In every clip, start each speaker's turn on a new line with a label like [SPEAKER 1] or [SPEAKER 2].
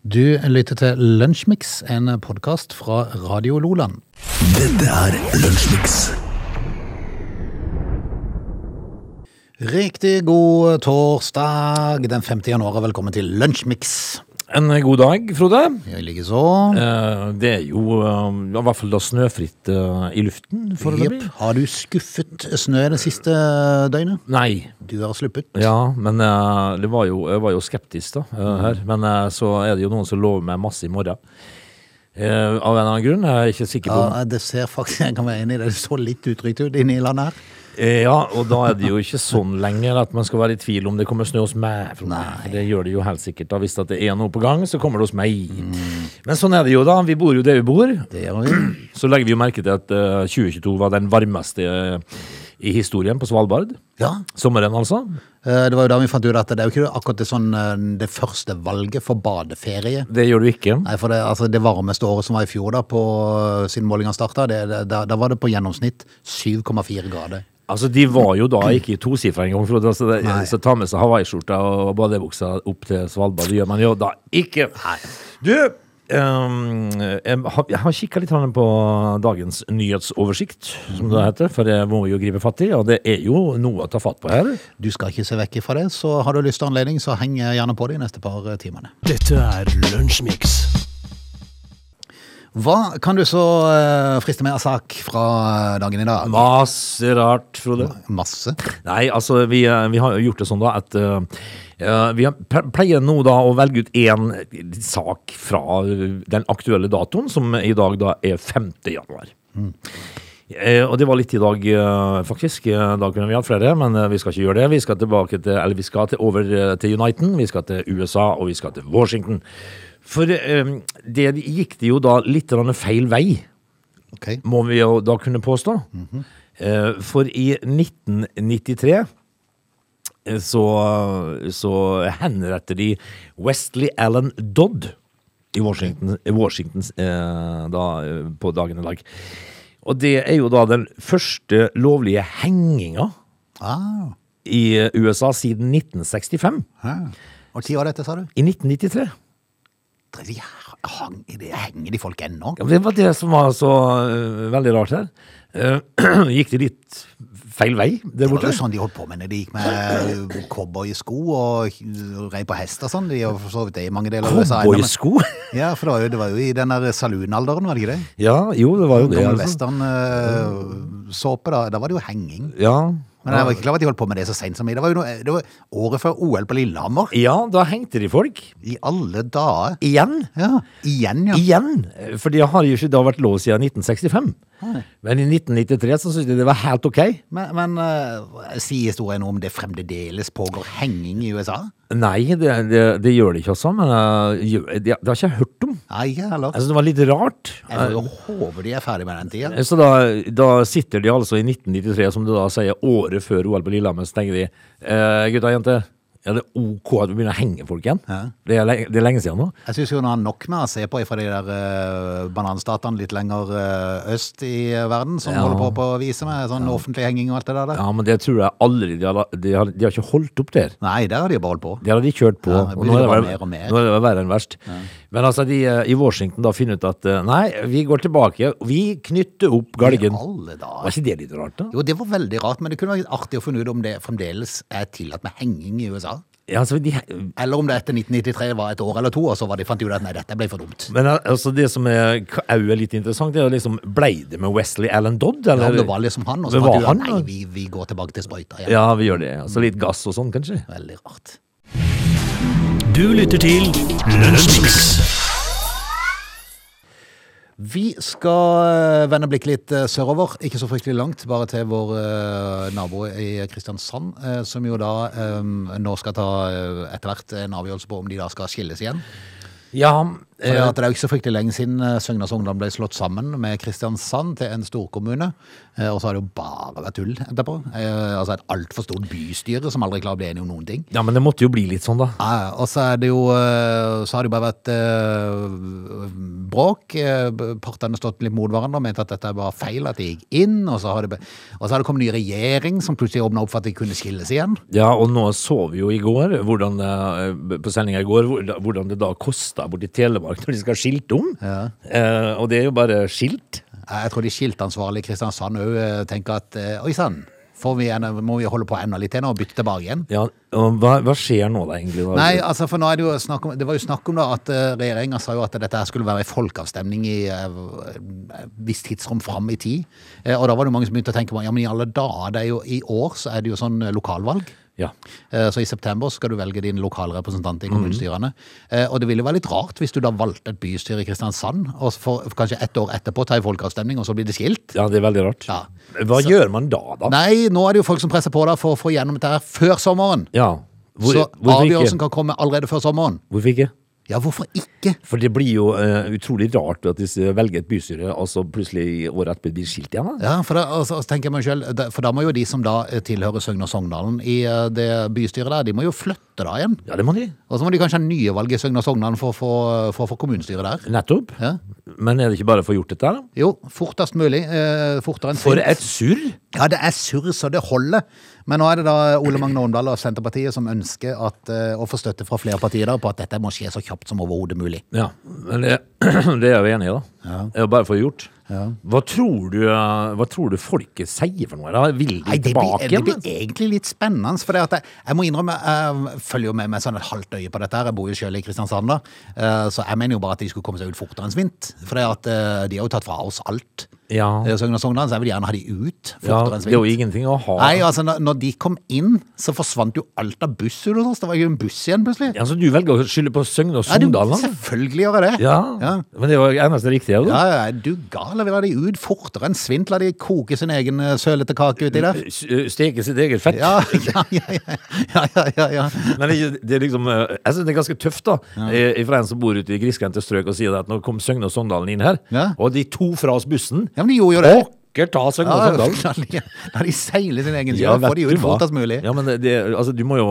[SPEAKER 1] Du lytter til Lunsjmix, en podkast fra Radio Loland.
[SPEAKER 2] Dette er Lunsjmix.
[SPEAKER 1] Riktig god torsdag den 5. januar, og velkommen til Lunsjmix.
[SPEAKER 3] En eh, god dag, Frode.
[SPEAKER 1] Jeg ligger så.
[SPEAKER 3] Eh, Det er jo eh, ja, i hvert fall da snøfritt eh, i luften
[SPEAKER 1] Jepp.
[SPEAKER 3] foreløpig.
[SPEAKER 1] Har du skuffet snø det siste døgnet?
[SPEAKER 3] Nei.
[SPEAKER 1] Du har sluppet.
[SPEAKER 3] Ja, men eh, det var jo, jeg var jo skeptisk da, eh, her. Men eh, så er det jo noen som lover meg masse i morgen. Eh, Av en eller annen grunn. Jeg er ikke sikker på om-
[SPEAKER 1] Ja, det ser faktisk, jeg kan være enig i det, det så litt utrygt ut inne i landet her.
[SPEAKER 3] Eh, Ja, og da er det jo ikke sånn lenger at man skal være i tvil om det kommer snø hos meg. Frode.
[SPEAKER 1] Nei.
[SPEAKER 3] Det gjør det jo helt sikkert. da. Hvis at det er noe på gang, så kommer det hos meg. Men sånn er det jo, da. Vi bor jo der vi bor.
[SPEAKER 1] Det gjør vi.
[SPEAKER 3] Så legger vi jo merke til at eh, 2022 var den varmeste eh, i historien på Svalbard.
[SPEAKER 1] Ja,
[SPEAKER 3] Sommeren, altså.
[SPEAKER 1] eh, det var jo da vi fant ut at det er jo ikke akkurat det, sånn, eh, det første valget for badeferie.
[SPEAKER 3] Det gjør du ikke.
[SPEAKER 1] Nei, for det, altså, det varmeste året som var i fjor da, på, eh, siden målingen startet, det, det, da, da var det på gjennomsnitt 7,4 grader.
[SPEAKER 3] Altså, De var jo da ikke i tosifra engang, Frode. Altså, det-
[SPEAKER 1] Nei.
[SPEAKER 3] så ta med seg hawaiiskjorta og badebuksa opp til Svalbard. Det gjør man jo da ikke. Du, ehm, jeg har- jeg har kikka litt grann på dagens nyhetsoversikt, som det heter. For jeg må jo gripe fatt i, og det er jo noe å ta fatt på her.
[SPEAKER 1] Du skal ikke se vekk fra det, så har du lyst til anledning, så heng gjerne på de neste par eh, timene.
[SPEAKER 2] Dette er Lunsjmix.
[SPEAKER 1] Hva kan du så eh, friste med av sak fra eh, dagen i dag?
[SPEAKER 3] Masse rart, Frode.
[SPEAKER 1] Masse.
[SPEAKER 3] Nei, altså vi, eh, vi har jo gjort det sånn da at eh, eh, vi har- pe- pleier nå da å velge ut én sak fra eh, den aktuelle datoen, som i dag da er 5. januar. Eh, og det var litt i dag, eh, faktisk. Eh, Da kunne vi hatt flere, men eh, vi skal ikke gjøre det. Vi skal tilbake til, eller vi skal til, over eh, til Uniten, vi skal til USA, og vi skal til Washington. For eh, det gikk det jo da litt grann feil vei
[SPEAKER 1] Ok.
[SPEAKER 3] må vi jo da kunne påstå. Eh, For i 1993 eh, så, så henretter de Wesley Allen Dodd i Washington, i Washingtons, eh, da, eh, på dagen i dag. Og det er jo da den første lovlige henginga
[SPEAKER 1] Ah,
[SPEAKER 3] i eh, USA siden 1965.
[SPEAKER 1] hæ. Og tid var dette, sa du?
[SPEAKER 3] I 1993.
[SPEAKER 1] Drev de her- hang, i det- henger de folk ennå?
[SPEAKER 3] Ja, men det var det som var så eh, veldig rart her. Eh, gikk det litt feil vei der
[SPEAKER 1] Det var
[SPEAKER 3] borte?
[SPEAKER 1] jo sånn de holdt på med når de gikk med cowboy i sko og rei på hest og sånn. De har for så vidt det i mange deler av USA. ennå, men-
[SPEAKER 3] Cowboysko?
[SPEAKER 1] Ja, for det var jo, det var jo i den der saloonalderen, var det ikke det?
[SPEAKER 3] Ja, jo, det var jo det.
[SPEAKER 1] Gammel
[SPEAKER 3] altså.
[SPEAKER 1] western-såpe, da. Da var det jo henging.
[SPEAKER 3] Ja.
[SPEAKER 1] sånn. Men jeg var ikke klar over at de holdt på med det så seint som i. Det var jo noe, det var året før OL på Lillehammer.
[SPEAKER 3] ja, da hengte de folk.
[SPEAKER 1] I alle dager.
[SPEAKER 3] Igjen.
[SPEAKER 1] Ja, igjen, ja.
[SPEAKER 3] Igjen. For det har jo ikke da vært lov siden 1965. Men i 1993 så syntes de det var helt ok.
[SPEAKER 1] Men, men eh, sier historien noe om det fremdeles pågår henging i USA?
[SPEAKER 3] Nei, det, det, det gjør det ikke, altså. Men eh, gjør- det, det har ikke jeg hørt om.
[SPEAKER 1] Nei, ikke heller.
[SPEAKER 3] Jeg synes det var litt rart.
[SPEAKER 1] Jeg får jo håpe de er ferdig med den tida.
[SPEAKER 3] Eh, Så da, da sitter de altså i 1993, som du da sier, året før OL på Lillehammer, så tenker de eh, gutta og jenter, er det ok at vi begynner å henge folk igjen?
[SPEAKER 1] Ja.
[SPEAKER 3] Det, er, le- det er lenge siden nå.
[SPEAKER 1] Jeg syns hun har nok med å se på fra de der eh, bananstatene litt lenger eh, øst i eh, verden, som
[SPEAKER 3] Ja.
[SPEAKER 1] holder på på å vise med sånn offentlig henging og alt det der.
[SPEAKER 3] Ja, men det tror jeg aldri De har, de har, de har ikke holdt opp der.
[SPEAKER 1] Nei, der har de bare holdt på.
[SPEAKER 3] Det har de kjørt på.
[SPEAKER 1] Ja, det
[SPEAKER 3] og nå er det,
[SPEAKER 1] blir bare
[SPEAKER 3] verre-
[SPEAKER 1] mer og mer.
[SPEAKER 3] nå er det verre enn verst. Men altså, de eh, i Washington da finner ut at eh, nei, vi går tilbake. Vi knytter opp galgen.
[SPEAKER 1] I alle dager.
[SPEAKER 3] Var ikke det litt rart, da?
[SPEAKER 1] Jo, det var veldig rart, men det kunne vært artig å finne ut om det fremdeles er tillatt med henging i USA.
[SPEAKER 3] Ja, altså, de,
[SPEAKER 1] Eller om det etter 1993 var et år eller to, og så var de fant de ut at nei, dette ble for dumt.
[SPEAKER 3] men eh, altså, det som er k- au er litt interessant, det er jo liksom Blei det med Wesley Allen Dodd,
[SPEAKER 1] Ja,
[SPEAKER 3] eller?
[SPEAKER 1] om det var liksom han, og så
[SPEAKER 3] Men
[SPEAKER 1] fant de
[SPEAKER 3] var
[SPEAKER 1] ut at
[SPEAKER 3] han,
[SPEAKER 1] nei,
[SPEAKER 3] da?
[SPEAKER 1] vi, vi går tilbake til sprøyta igjen.
[SPEAKER 3] Ja, vi gjør det. Altså litt gass og sånn, kanskje?
[SPEAKER 1] Veldig rart.
[SPEAKER 2] Du lytter til Lunsjmix.
[SPEAKER 1] Vi skal eh, vende blikket litt eh, sørover, ikke så fryktelig langt, bare til vår eh, nabo i Kristiansand, eh, som jo da eh, nå skal ta eh, etter hvert en avgjørelse på om de da skal skilles igjen.
[SPEAKER 3] Ja,
[SPEAKER 1] eh, at det er jo ikke så fryktelig lenge siden eh, Søgnas Ungdom ble slått sammen med Kristiansand til en storkommune. Eh, Og så har det jo bare vært tull etterpå. Eh, Altså et altfor stort bystyre som aldri klarer å bli enige om noen ting.
[SPEAKER 3] Ja, men det måtte jo bli litt sånn, da.
[SPEAKER 1] Ja, ja, og så er det jo eh, Så har det jo bare vært eh, bråk. Eh, Partene har stått litt mot hverandre og ment at dette var feil, at de gikk inn. Og så har det, be- og så har det kommet ny regjering som plutselig åpna opp for at de kunne skilles igjen.
[SPEAKER 3] Ja, og nå så vi jo i går, hvordan, det- på sendinga i går, hvor- hvordan det da kosta borti Telemark når de skal skilte om. Eh, og det er jo bare skilt.
[SPEAKER 1] Eh, Jeg tror de skiltansvarlige i Kristiansand òg tenker at eh, oi sann, får vi en- må vi holde på enda litt til nå og bytte tilbake igjen?
[SPEAKER 3] Ja, og hva, hva skjer nå da, egentlig? da?
[SPEAKER 1] Nei, altså for nå er det jo snakk om Det var jo snakk om da at regjeringa sa jo at dette her skulle være en folkeavstemning i et visst tidsrom fram i tid. Eh, Og da var det jo mange som begynte å tenke på ja, men i alle dager, det er jo i år så er det jo sånn eh, lokalvalg.
[SPEAKER 3] Ja.
[SPEAKER 1] Eh, Så i september så skal du velge din lokale
[SPEAKER 3] Mhm.
[SPEAKER 1] representant i kommunestyrene. Eh, Og det ville jo være litt rart hvis du da valgte et bystyre i Kristiansand, og så for, for kanskje ett år etterpå ta en folkeavstemning, og så blir det skilt.
[SPEAKER 3] ja, det er veldig rart.
[SPEAKER 1] Ja.
[SPEAKER 3] Hva gjør man da, da?
[SPEAKER 1] Nei, nå er det jo folk som presser på da for å få gjennom dette her før sommeren.
[SPEAKER 3] Ja. Hvor,
[SPEAKER 1] så
[SPEAKER 3] hvorfor
[SPEAKER 1] avgjørelsen
[SPEAKER 3] ikke?
[SPEAKER 1] kan komme allerede før sommeren.
[SPEAKER 3] Hvorfor ikke?
[SPEAKER 1] Ja, hvorfor ikke?
[SPEAKER 3] For det blir jo eh, utrolig rart at de velger et bystyre, og så plutselig året etter blir de skilt igjen. da.
[SPEAKER 1] Ja, for da, og så- og så tenker jeg meg selv, da- for da må jo de som da eh, tilhører Søgne og Sogndalen i eh, det bystyret der, de må jo flytte da igjen.
[SPEAKER 3] Ja, det må de.
[SPEAKER 1] Og så må de kanskje ha nye valg i Søgne og Sogndalen for å få- for å få kommunestyret der.
[SPEAKER 3] Nettopp.
[SPEAKER 1] Ja.
[SPEAKER 3] Men er det ikke bare å få gjort dette, da?
[SPEAKER 1] Jo, fortest mulig. Eh, fortere enn
[SPEAKER 3] For
[SPEAKER 1] sint.
[SPEAKER 3] et surr!
[SPEAKER 1] Ja, det er surr så det holder. Men nå er det da Ole Magne Åndal og Senterpartiet som ønsker at, eh, å få støtte fra flere partier der på at dette må skje så kjapt som overhodet mulig.
[SPEAKER 3] Ja, men det, det er jeg jo enig i, da. Det er jo bare for å få gjort. Hva, tror du, eh, hva tror du folket sier for noe? Da? Vil de
[SPEAKER 1] Nei, det blir,
[SPEAKER 3] tilbake
[SPEAKER 1] det blir
[SPEAKER 3] igjen? altså.
[SPEAKER 1] egentlig litt spennende. For det at jeg, jeg må innrømme, jeg følger jo med med sånn et halvt øye på dette. her. Jeg bor jo selv i Kristiansand, da. Eh, Så jeg mener jo bare at de skulle komme seg ut fortere enn svint. For det at eh, de har jo tatt fra oss alt.
[SPEAKER 3] Ja.
[SPEAKER 1] Eh, Søgne og Sogndal, så jeg vil gjerne ha de ut
[SPEAKER 3] ja,
[SPEAKER 1] fortere enn
[SPEAKER 3] det er jo
[SPEAKER 1] svint.
[SPEAKER 3] ingenting å ha.
[SPEAKER 1] Nei, altså, når når de kom inn, så forsvant jo alt av busser hos oss. Det var jo en buss igjen, plutselig.
[SPEAKER 3] Altså, du velger å skylde på Søgne og
[SPEAKER 1] Ja, du,
[SPEAKER 3] Sogndal? da?
[SPEAKER 1] selvfølgelig gjør jeg det.
[SPEAKER 3] Ja.
[SPEAKER 1] ja.
[SPEAKER 3] men det var jo eneste riktige.
[SPEAKER 1] Ja,
[SPEAKER 3] Da.
[SPEAKER 1] ja, er du gal, eller vil ha de ut fortere enn svint? La de koke sin egen eh, sølete kake uti der?
[SPEAKER 3] S- eh, Steke sitt eget fett.
[SPEAKER 1] Ja, ja, ja, ja, ja, ja, ja, ja.
[SPEAKER 3] Men det, det er liksom eh, Jeg synes det er ganske tøft, da. eh, Fra en som bor ute i grisgrendte strøk og sier at nå kom Søgne og Sogndalen inn her,
[SPEAKER 1] Ja.
[SPEAKER 3] og de to fra oss bussen.
[SPEAKER 1] Ja, men de gjorde jo det.
[SPEAKER 3] Pokker ta Søgne og
[SPEAKER 1] Ja,
[SPEAKER 3] Sogndalen!
[SPEAKER 1] la de, la de seile sin egen sjø, ja, få
[SPEAKER 3] vet
[SPEAKER 1] de
[SPEAKER 3] du
[SPEAKER 1] ut
[SPEAKER 3] hva?
[SPEAKER 1] fortest mulig.
[SPEAKER 3] Ja, men det, det, altså, du må jo,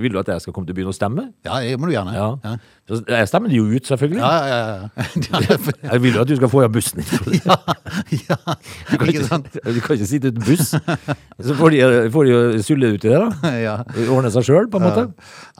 [SPEAKER 3] vil du at jeg skal komme til byen og stemme?
[SPEAKER 1] Ja, det må du gjerne.
[SPEAKER 3] Ja.
[SPEAKER 1] ja,
[SPEAKER 3] Så Jeg stemmer det jo ut, selvfølgelig.
[SPEAKER 1] ja. ja, ja, ja.
[SPEAKER 3] Jeg vil jo at du skal få av bussen din.
[SPEAKER 1] ja, ja.
[SPEAKER 3] Du kan
[SPEAKER 1] Ikke
[SPEAKER 3] ikke,
[SPEAKER 1] sant?
[SPEAKER 3] du kan ikke sitte uten buss. Så får de, får de jo sulle ut i det, da.
[SPEAKER 1] Ja.
[SPEAKER 3] Ordne seg sjøl, på en måte.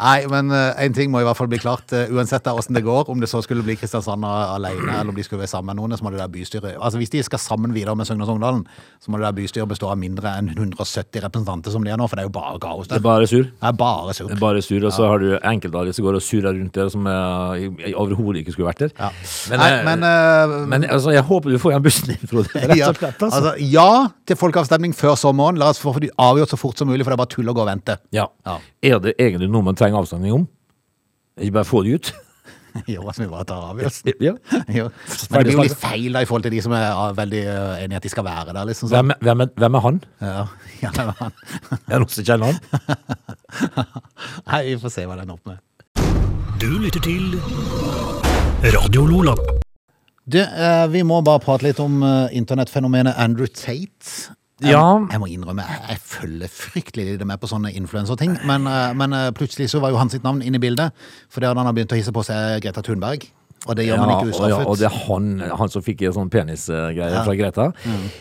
[SPEAKER 1] Nei, men eh, en ting må i hvert fall bli klart, eh, uansett da hvordan det går, om det så skulle bli Kristiansand alene, eller om de skulle være sammen med noen, så må det der bystyret, altså hvis de skal sammen videre med Søgne og Sogndalen, så må det der bystyret bestå av mindre enn 170 representanter som de er nå, for det er jo bare kaos
[SPEAKER 3] Det
[SPEAKER 1] der.
[SPEAKER 3] er bare sur.
[SPEAKER 1] Det er bare
[SPEAKER 3] Det
[SPEAKER 1] sur.
[SPEAKER 3] er bare sur, Og så har du enkelte av de som går og surrer rundt der, som eh, i- overhodet ikke skulle vært der.
[SPEAKER 1] Ja.
[SPEAKER 3] Men,
[SPEAKER 1] Nei,
[SPEAKER 3] eh,
[SPEAKER 1] men, eh,
[SPEAKER 3] men altså, jeg håper du får igjen bussen din, Frode. Rett
[SPEAKER 1] Ja,
[SPEAKER 3] og slett, altså.
[SPEAKER 1] altså, ja til folkeavstemning før sommeren. La oss få de avgjort så fort som mulig, for det er bare tull å gå og vente.
[SPEAKER 3] Ja.
[SPEAKER 1] Ja.
[SPEAKER 3] Er det egentlig noe man trenger avstemning om? Ikke bare få det ut?
[SPEAKER 1] Jo, altså, vi bare tar avgjørelsen.
[SPEAKER 3] Ja.
[SPEAKER 1] Jo. Men det blir jo litt feil da, i forhold til de som er ah, veldig eh, enige at de skal være der, liksom. Så.
[SPEAKER 3] Hvem, hvem, er, hvem er han?
[SPEAKER 1] Ja, ja, men han-
[SPEAKER 3] Er det noen som kjenner han?
[SPEAKER 1] Nei, vi får se hva den opp med.
[SPEAKER 2] Du lytter til Radio Lola.
[SPEAKER 1] Du, eh, vi må bare prate litt om eh, internettfenomenet Andrew Tate. Jeg-
[SPEAKER 3] Ja.
[SPEAKER 1] Jeg må innrømme, jeg- jeg følger fryktelig lite med på sånne influenserting. Men, eh, men eh, plutselig så var jo hans sitt navn inne i bildet, fordi han har begynt å hisse på seg Greta Thunberg. Og det gjør man ikke
[SPEAKER 3] og, ja,
[SPEAKER 1] ustraffet.
[SPEAKER 3] og det er han, han som fikk en sånn penisgreie fra Greta.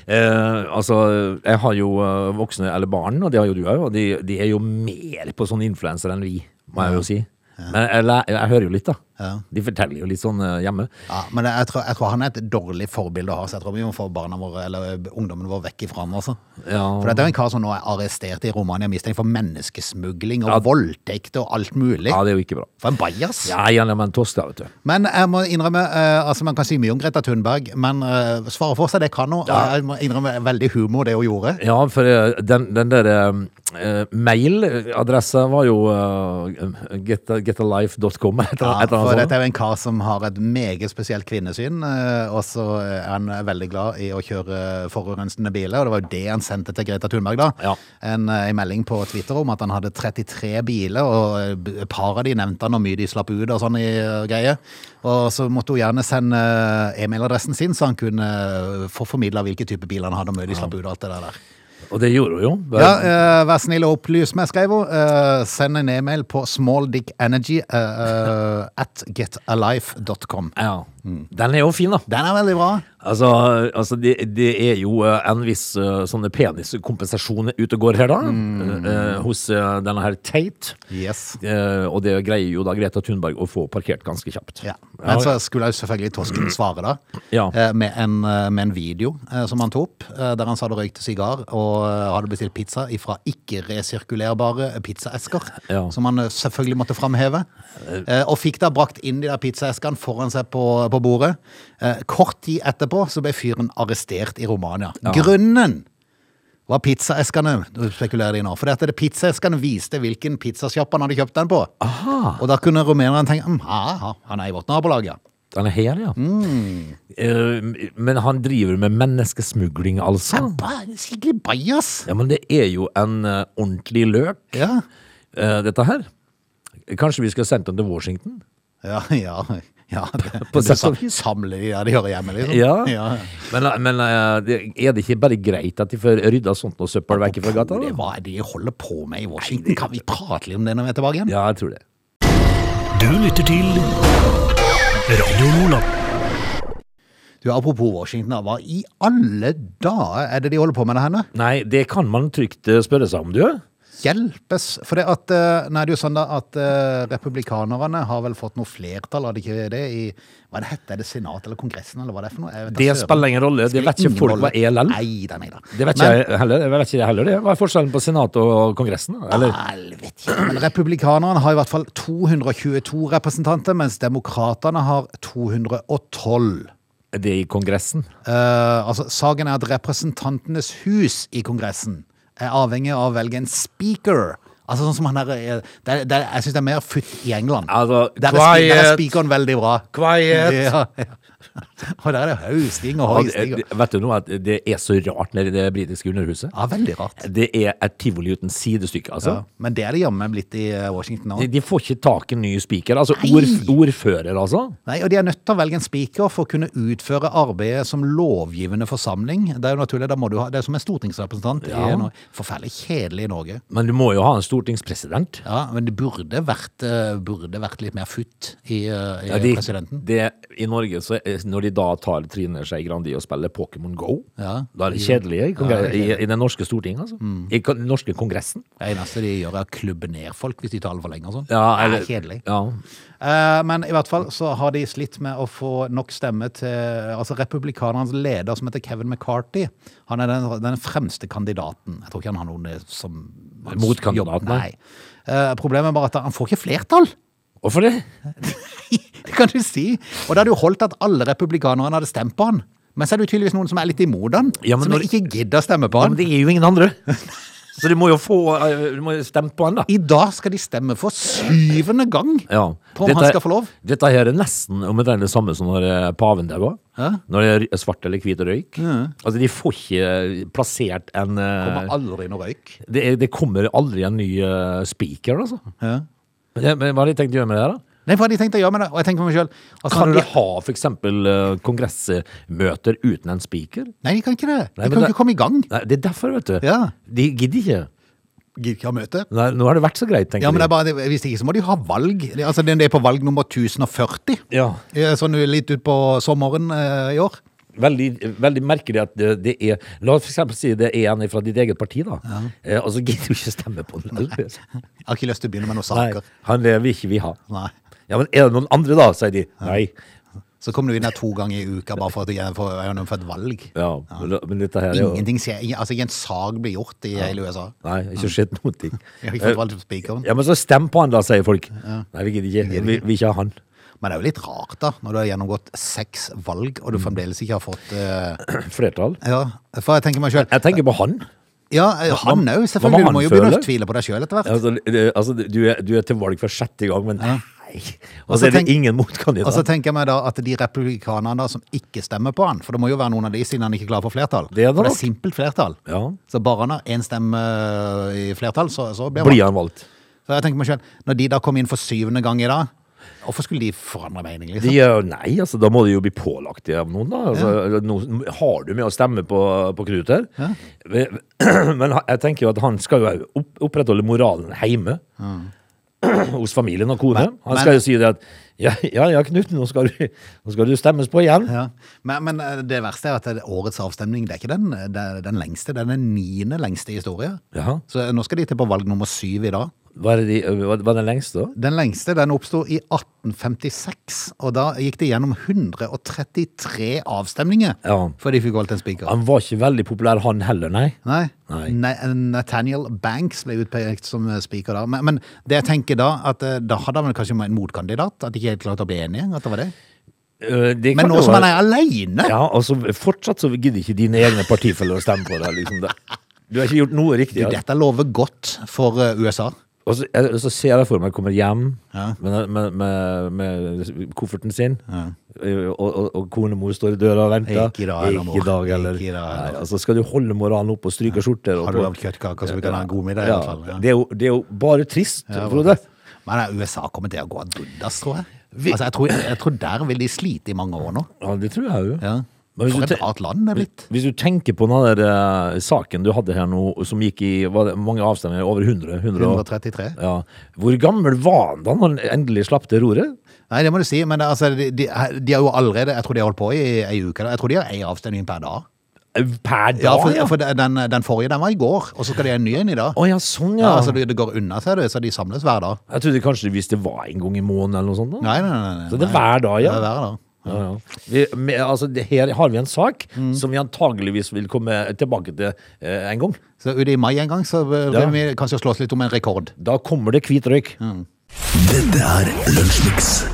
[SPEAKER 3] Eh, altså, jeg har jo eh, voksne, eller barn, og det har jo du òg, og de, de er jo mer på sånn influenser enn vi, må jeg jo si. Men jeg, læ- jeg hører jo litt, da.
[SPEAKER 1] Ja.
[SPEAKER 3] De forteller jo litt sånn eh, hjemme.
[SPEAKER 1] Ja, men jeg tror, jeg tror han er et dårlig forbilde å ha, så jeg tror vi må få barna våre, eller eh, ungdommen vår vekk ifra han, altså.
[SPEAKER 3] Ja.
[SPEAKER 1] For dette er en kar som nå er arrestert i Romania, mistenkt for menneskesmugling og
[SPEAKER 3] Ja.
[SPEAKER 1] voldtekt og alt mulig.
[SPEAKER 3] Ja, det er jo ikke bra.
[SPEAKER 1] For en bajas.
[SPEAKER 3] Ja, gjerne med en tosk, da, vet du.
[SPEAKER 1] Men jeg må innrømme, eh, altså man kan si mye om Greta Thunberg, men eh, svare for seg, det kan hun.
[SPEAKER 3] Ja.
[SPEAKER 1] Jeg må innrømme, veldig humor det hun gjorde.
[SPEAKER 3] Ja, for eh, den, den der eh, mailadressa var jo eh, getalife.com, et eller
[SPEAKER 1] Ja,
[SPEAKER 3] annet- et eller annet
[SPEAKER 1] Og
[SPEAKER 3] for
[SPEAKER 1] dette
[SPEAKER 3] det.
[SPEAKER 1] er jo en kar som har et meget spesielt kvinnesyn, eh, og så er han veldig glad i å kjøre forurensende biler, og det var jo det han sendte til Greta Thunberg da.
[SPEAKER 3] Ja.
[SPEAKER 1] En, eh, en melding på Twitter om at han hadde 33 biler, og eh, b- et par av de nevnte han, og mye de slapp ut og sånn i eh, greier. Og så måtte hun gjerne sende eh, e-mailadressen sin, så han kunne eh, få formidlet hvilke type biler han hadde, og mye de slapp ut og alt det der der.
[SPEAKER 3] Og det gjorde hun jo. Det-
[SPEAKER 1] Ja, eh, vær snill og opplys meg, skrev hun. Eh, send en e-mail på smalldickenergy eh, eh, at getalife.com.
[SPEAKER 3] ja. Den er jo fin, da.
[SPEAKER 1] Den er veldig bra.
[SPEAKER 3] Altså, altså det, det er jo eh, en viss eh, sånne peniskompensasjon ute og går her, da. eh, eh, Hos eh, denne her Tate.
[SPEAKER 1] Yes.
[SPEAKER 3] Eh, og det greier jo da Greta Thunberg å få parkert ganske kjapt.
[SPEAKER 1] Ja. Men så skulle jeg jo selvfølgelig tosken svare, da.
[SPEAKER 3] Ja.
[SPEAKER 1] Eh, med, en, eh, med en video eh, som han tok opp, eh, der han sa det røykte sigar og eh, hadde bestilt pizza fra ikke-resirkulerbare pizzaesker.
[SPEAKER 3] Ja.
[SPEAKER 1] Som han eh, selvfølgelig måtte framheve. Eh, og fikk da brakt inn de der pizzaeskene foran seg på, på bordet. Eh, kort tid etterpå så ble fyren arrestert i Romania. Grunnen! var pizzaeskene, nå spekulerer de nå. For dette, det pizzaeskene viste hvilken pizzasjapp han hadde kjøpt den på. Og da kunne rumenerne tenke hm, aha, han er i vårt nabolag, ja.
[SPEAKER 3] Den er her, ja. Eh, men han driver med menneskesmugling, altså.
[SPEAKER 1] Ba- Skikkelig bajas!
[SPEAKER 3] Ja, men det er jo en eh, ordentlig løk,
[SPEAKER 1] Ja.
[SPEAKER 3] eh, dette her. Kanskje vi skal sende den til Washington?
[SPEAKER 1] Ja, ja. ja det,
[SPEAKER 3] På
[SPEAKER 1] på
[SPEAKER 3] sett og vis.
[SPEAKER 1] Samle de der de hører hjemme, liksom.
[SPEAKER 3] Ja.
[SPEAKER 1] ja.
[SPEAKER 3] Men, men eh, det- er det ikke bare greit at de får rydda sånt noe søppel vekk fra gata?
[SPEAKER 1] Det,
[SPEAKER 3] Da?
[SPEAKER 1] hva er det de holder på med i Washington? Kan vi prate litt om det når vi er tilbake igjen?
[SPEAKER 3] Ja, jeg tror det.
[SPEAKER 2] Du lytter til Radio Lola.
[SPEAKER 1] Du, Apropos Washington, da, hva i alle dager er det de holder på med det henne?
[SPEAKER 3] Nei, det kan man trygt eh, spørre seg om, du.
[SPEAKER 1] Hjelpes! For det at, eh, nei, det er jo sånn da at eh, republikanerne har vel fått noe flertall, hadde ikke det, i hva det heter, er det senat eller kongressen, eller hva det er for noe? Jeg vet da
[SPEAKER 3] Det
[SPEAKER 1] søren.
[SPEAKER 3] spiller ingen rolle. Det
[SPEAKER 1] Spiller
[SPEAKER 3] vet ikke
[SPEAKER 1] ingen
[SPEAKER 3] folk
[SPEAKER 1] rolle.
[SPEAKER 3] hva er lell.
[SPEAKER 1] Nei da, nei da.
[SPEAKER 3] Det vet ikke jeg heller. Jeg vet ikke det heller. det. Hva er forskjellen på senatet og kongressen? da? Eller?
[SPEAKER 1] Helvete. ikke. Men republikanerne har i hvert fall 222 representanter, mens demokraterne har 212.
[SPEAKER 3] Det i kongressen.
[SPEAKER 1] Eh, altså, saken er at Representantenes hus i Kongressen er avhengig av å velge en speaker. Altså sånn som han der, eh, det, er- det, er- Jeg syns det er mer futt i England.
[SPEAKER 3] Altså,
[SPEAKER 1] der, er, spe- der er
[SPEAKER 3] quiet.
[SPEAKER 1] speakeren veldig bra.
[SPEAKER 3] Quiet.
[SPEAKER 1] Ja, ja. Og der er det høysting og
[SPEAKER 3] Og det-
[SPEAKER 1] høysting. og-
[SPEAKER 3] det- Vet du noe? at Det er så rart nede i det britiske underhuset.
[SPEAKER 1] Ja, veldig rart.
[SPEAKER 3] Det er et tivoli uten sidestykke, altså.
[SPEAKER 1] Ah. Ja. Men det er det jammen blitt i eh, Washington
[SPEAKER 3] De,
[SPEAKER 1] òg.
[SPEAKER 3] de får ikke tak i en ny spiker. Altså
[SPEAKER 1] Nei.
[SPEAKER 3] ordf ordfører, altså.
[SPEAKER 1] Nei, og de er nødt til å velge en speaker for å kunne utføre arbeidet som lovgivende forsamling. Det er jo naturlig, da må du ha, det er som en stortingsrepresentant.
[SPEAKER 3] Ja.
[SPEAKER 1] I, Norge. forferdelig kjedelig i Norge.
[SPEAKER 3] Men du må jo ha en stortingspresident.
[SPEAKER 1] Ja, men det burde vært, eh, burde vært litt mer futt i, eh, i
[SPEAKER 3] Ja, de,
[SPEAKER 1] presidenten.
[SPEAKER 3] det, I Norge, så, er- når de da tar Trine Skei Grandi og spiller Pokémon Go,
[SPEAKER 1] Ja.
[SPEAKER 3] da er det kjedelig i, kongre-
[SPEAKER 1] Ja, det Mm. er
[SPEAKER 3] i, i det norske stortinget, altså. I kon- den norske kongressen.
[SPEAKER 1] Det eneste de gjør, er å klubbe ned folk hvis de taler for lenge og sånn.
[SPEAKER 3] eller-
[SPEAKER 1] det er kjedelig.
[SPEAKER 3] Ja.
[SPEAKER 1] Eh, men i hvert fall så har de slitt med å få nok stemme til altså republikanernes leder, som heter Kevin McCarthy. Han er den, den fremste kandidaten. Jeg tror ikke han har noen eh, som
[SPEAKER 3] Motkandidat,
[SPEAKER 1] jobb-
[SPEAKER 3] nei.
[SPEAKER 1] Nei. Eh, problemet er bare at han får ikke flertall.
[SPEAKER 3] Hvorfor det?
[SPEAKER 1] Det kan du si. Og da hadde jo holdt at alle republikanerne hadde stemt på han. Men så er det jo tydeligvis noen som er litt imot han.
[SPEAKER 3] Ja, men
[SPEAKER 1] som
[SPEAKER 3] når-
[SPEAKER 1] ikke gidder å stemme på
[SPEAKER 3] Ja,
[SPEAKER 1] han.
[SPEAKER 3] men det er jo ingen andre. Så du må jo få eh, Du må jo stemme på han, da.
[SPEAKER 1] I dag skal de stemme for syvende gang
[SPEAKER 3] Ja.
[SPEAKER 1] på om han skal få lov.
[SPEAKER 3] Dette her er nesten omtrent det samme som når eh, paven der var.
[SPEAKER 1] Hæ?
[SPEAKER 3] Når det er svart eller hvit røyk. Altså, de får ikke eh, plassert en eh,
[SPEAKER 1] Kommer aldri noe røyk.
[SPEAKER 3] det, er, det kommer aldri en ny eh, speaker, altså. Men, men hva har de tenkt å gjøre med det her, da?
[SPEAKER 1] Nei, for de tenkte å gjøre med det, og jeg tenker på meg sjøl altså,
[SPEAKER 3] Kan
[SPEAKER 1] når
[SPEAKER 3] de
[SPEAKER 1] du da-
[SPEAKER 3] ha f.eks. Uh, kongressmøter uten en speaker?
[SPEAKER 1] Nei, de kan ikke det. De
[SPEAKER 3] Nei, men
[SPEAKER 1] kan
[SPEAKER 3] det-
[SPEAKER 1] ikke komme i gang.
[SPEAKER 3] Nei, det er derfor, vet du.
[SPEAKER 1] Ja.
[SPEAKER 3] De gidder ikke.
[SPEAKER 1] Gidder ikke ha møte.
[SPEAKER 3] Nei, nå har det vært så greit, tenker
[SPEAKER 1] Ja, men det er
[SPEAKER 3] de.
[SPEAKER 1] bare, det- Hvis ikke så må de ha valg. Det- Altså, Det er på valg nummer 1040.
[SPEAKER 3] Ja.
[SPEAKER 1] Eh, Sånn litt utpå sommeren eh, i år.
[SPEAKER 3] Veldig, veldig merkelig at det, det er La oss f.eks. si det er en fra ditt eget parti, da. Eh, og så gidder du ikke stemme på den. Nei.
[SPEAKER 1] Jeg har ikke lyst til å begynne med noen saker.
[SPEAKER 3] Han lever ikke vi har.
[SPEAKER 1] Nei.
[SPEAKER 3] Ja, men er det noen andre, da? sier de. Nei.
[SPEAKER 1] Så kommer du inn her to ganger i uka bare for å gjennomføre gjennomføre et valg.
[SPEAKER 3] Ja, men- Men dette her er jo
[SPEAKER 1] Ingenting skjer. Ingen- Altså, Ikke en sag blir gjort i hele USA.
[SPEAKER 3] Nei, ikke skjedd noen ting. Eh,
[SPEAKER 1] Jeg har ikke fått valgt spikeren.
[SPEAKER 3] Ja, men så stem på han da, sier folk. Nei, vi gidder ikke. Vi, vi ikke ha han.
[SPEAKER 1] Men det er jo litt rart, da, når du har gjennomgått seks valg, og du
[SPEAKER 3] Mm.
[SPEAKER 1] fremdeles ikke har fått eh,
[SPEAKER 3] Flertall.
[SPEAKER 1] Ja, for jeg tenker meg sjøl
[SPEAKER 3] Jeg tenker på han.
[SPEAKER 1] Ja, eh, han
[SPEAKER 3] hva-
[SPEAKER 1] òg,
[SPEAKER 3] hva må
[SPEAKER 1] selvfølgelig. Du
[SPEAKER 3] han
[SPEAKER 1] må jo begynne å
[SPEAKER 3] føle?
[SPEAKER 1] tvile på deg sjøl etter hvert.
[SPEAKER 3] Altså, det- altså, du, er, du er til valg for sjette gang, men Nei. Og så er det
[SPEAKER 1] tenk-
[SPEAKER 3] ingen
[SPEAKER 1] Og så
[SPEAKER 3] motkandidat.
[SPEAKER 1] tenker jeg meg da at de republikanerne da som ikke stemmer på han, for det må jo være noen av de siden han ikke klarer å få flertall.
[SPEAKER 3] Det er det
[SPEAKER 1] for det
[SPEAKER 3] nok.
[SPEAKER 1] er simpelt flertall.
[SPEAKER 3] Ja.
[SPEAKER 1] Så bare han har én stemme eh, i flertall, så, så blir han
[SPEAKER 3] Blir han valgt?
[SPEAKER 1] Så jeg tenker meg selv, når de da kom inn for syvende gang i dag, hvorfor skulle de forandre mening,
[SPEAKER 3] De,
[SPEAKER 1] liksom?
[SPEAKER 3] eh, nei, altså, da må de jo bli pålagt det av noen, da. Altså, nå har du med å stemme på, på Knut her. Men ha- jeg tenker jo at han skal jo opp, opprettholde moralen hjemme. Hos familien og kone.
[SPEAKER 1] Men-
[SPEAKER 3] Han
[SPEAKER 1] men-
[SPEAKER 3] skal jo si det at ja, ja, ja Knut, nå skal, du, nå skal du stemmes på igjen.
[SPEAKER 1] Ja. Men, men eh, det verste er at det- årets avstemning, det er ikke den, det er den lengste, det er den niende lengste i historien.
[SPEAKER 3] Ja.
[SPEAKER 1] Så eh, nå skal de til på valg nummer syv i dag.
[SPEAKER 3] Hva er, det de, hva hva er den lengste, da?
[SPEAKER 1] Den lengste, den oppstod i 1856, og da gikk det gjennom 133 avstemninger
[SPEAKER 3] Ja.
[SPEAKER 1] før de fikk valgt en speaker.
[SPEAKER 3] Han var ikke veldig populær, han heller, nei.
[SPEAKER 1] Nei.
[SPEAKER 3] Nei.
[SPEAKER 1] Na- Nathaniel Banks ble utpekt som eh, speaker da. Men, men det jeg tenker da, at eh, da hadde han kanskje en motkandidat, at de ikke helt klarte å bli enige, at det var det.
[SPEAKER 3] Eh, det kan
[SPEAKER 1] Men nå
[SPEAKER 3] jo
[SPEAKER 1] som han
[SPEAKER 3] være-
[SPEAKER 1] er alene!
[SPEAKER 3] Ja, altså Fortsatt så gidder ikke dine egne partifeller å stemme på deg. Liksom. Det- Du har ikke gjort noe riktig.
[SPEAKER 1] Du,
[SPEAKER 3] altså.
[SPEAKER 1] dette lover godt for eh, USA.
[SPEAKER 3] Og så, jeg, så ser jeg for meg jeg kommer hjem
[SPEAKER 1] Ja.
[SPEAKER 3] med, med, med, med kofferten sin, og, og, og kone og mor står i døra og venter.
[SPEAKER 1] Ikke i dag, eller, mor.
[SPEAKER 3] Ikke i dag, eller.
[SPEAKER 1] Ikke i dag, eller.
[SPEAKER 3] Nei, altså, skal du holde moralen oppe og stryke skjorter? og
[SPEAKER 1] Har du
[SPEAKER 3] på-
[SPEAKER 1] lagd kjøttkaker, så vi kan ha en god middag i
[SPEAKER 3] Ja,
[SPEAKER 1] hvert fall, ja.
[SPEAKER 3] Det, er jo, det er jo bare trist, Frode.
[SPEAKER 1] Men eh, USA kommer til å gå ad undas, tror jeg.
[SPEAKER 3] Vi-
[SPEAKER 1] Altså, jeg, tror, jeg tror der vil de slite i mange år nå.
[SPEAKER 3] Ja, det tror jeg jo.
[SPEAKER 1] Ja.
[SPEAKER 3] Men hvis
[SPEAKER 1] For
[SPEAKER 3] du
[SPEAKER 1] et
[SPEAKER 3] te-
[SPEAKER 1] rart land det er blitt.
[SPEAKER 3] Hvis du tenker på den der eh, saken du hadde her nå, som gikk i var det, mange avstemninger, over 100, 100 og-
[SPEAKER 1] 133.
[SPEAKER 3] Ja. Hvor gammel var han da han endelig slapp til roret?
[SPEAKER 1] Nei, det må du si, men altså, de, de, de har jo allerede Jeg tror de har holdt på i ei uke. Da. Jeg tror de har ei avstemning per dag.
[SPEAKER 3] Eh, Per dag,
[SPEAKER 1] Ja, for,
[SPEAKER 3] ja.
[SPEAKER 1] for den, den forrige den var i går, og så skal de ha en ny en i dag.
[SPEAKER 3] Å ja, sånn
[SPEAKER 1] Ja,
[SPEAKER 3] ja.
[SPEAKER 1] altså Det det går unna, ser du, så de samles hver dag.
[SPEAKER 3] Jeg trodde kanskje hvis det var en gang i måneden eller noe sånt. da.
[SPEAKER 1] Nei, nei, nei. nei.
[SPEAKER 3] Så det er hver dag,
[SPEAKER 1] Ja,
[SPEAKER 3] ja.
[SPEAKER 1] hver dag.
[SPEAKER 3] ja, ja. Vi, med, altså, det, her har vi en sak
[SPEAKER 1] Mm.
[SPEAKER 3] som vi antageligvis vil komme tilbake til eh, en gang.
[SPEAKER 1] Så ute i mai en gang så vil
[SPEAKER 3] Ja.
[SPEAKER 1] vi kanskje slåss litt om en rekord.
[SPEAKER 3] Da kommer det hvit røyk.
[SPEAKER 2] Dette er Lunsjmix.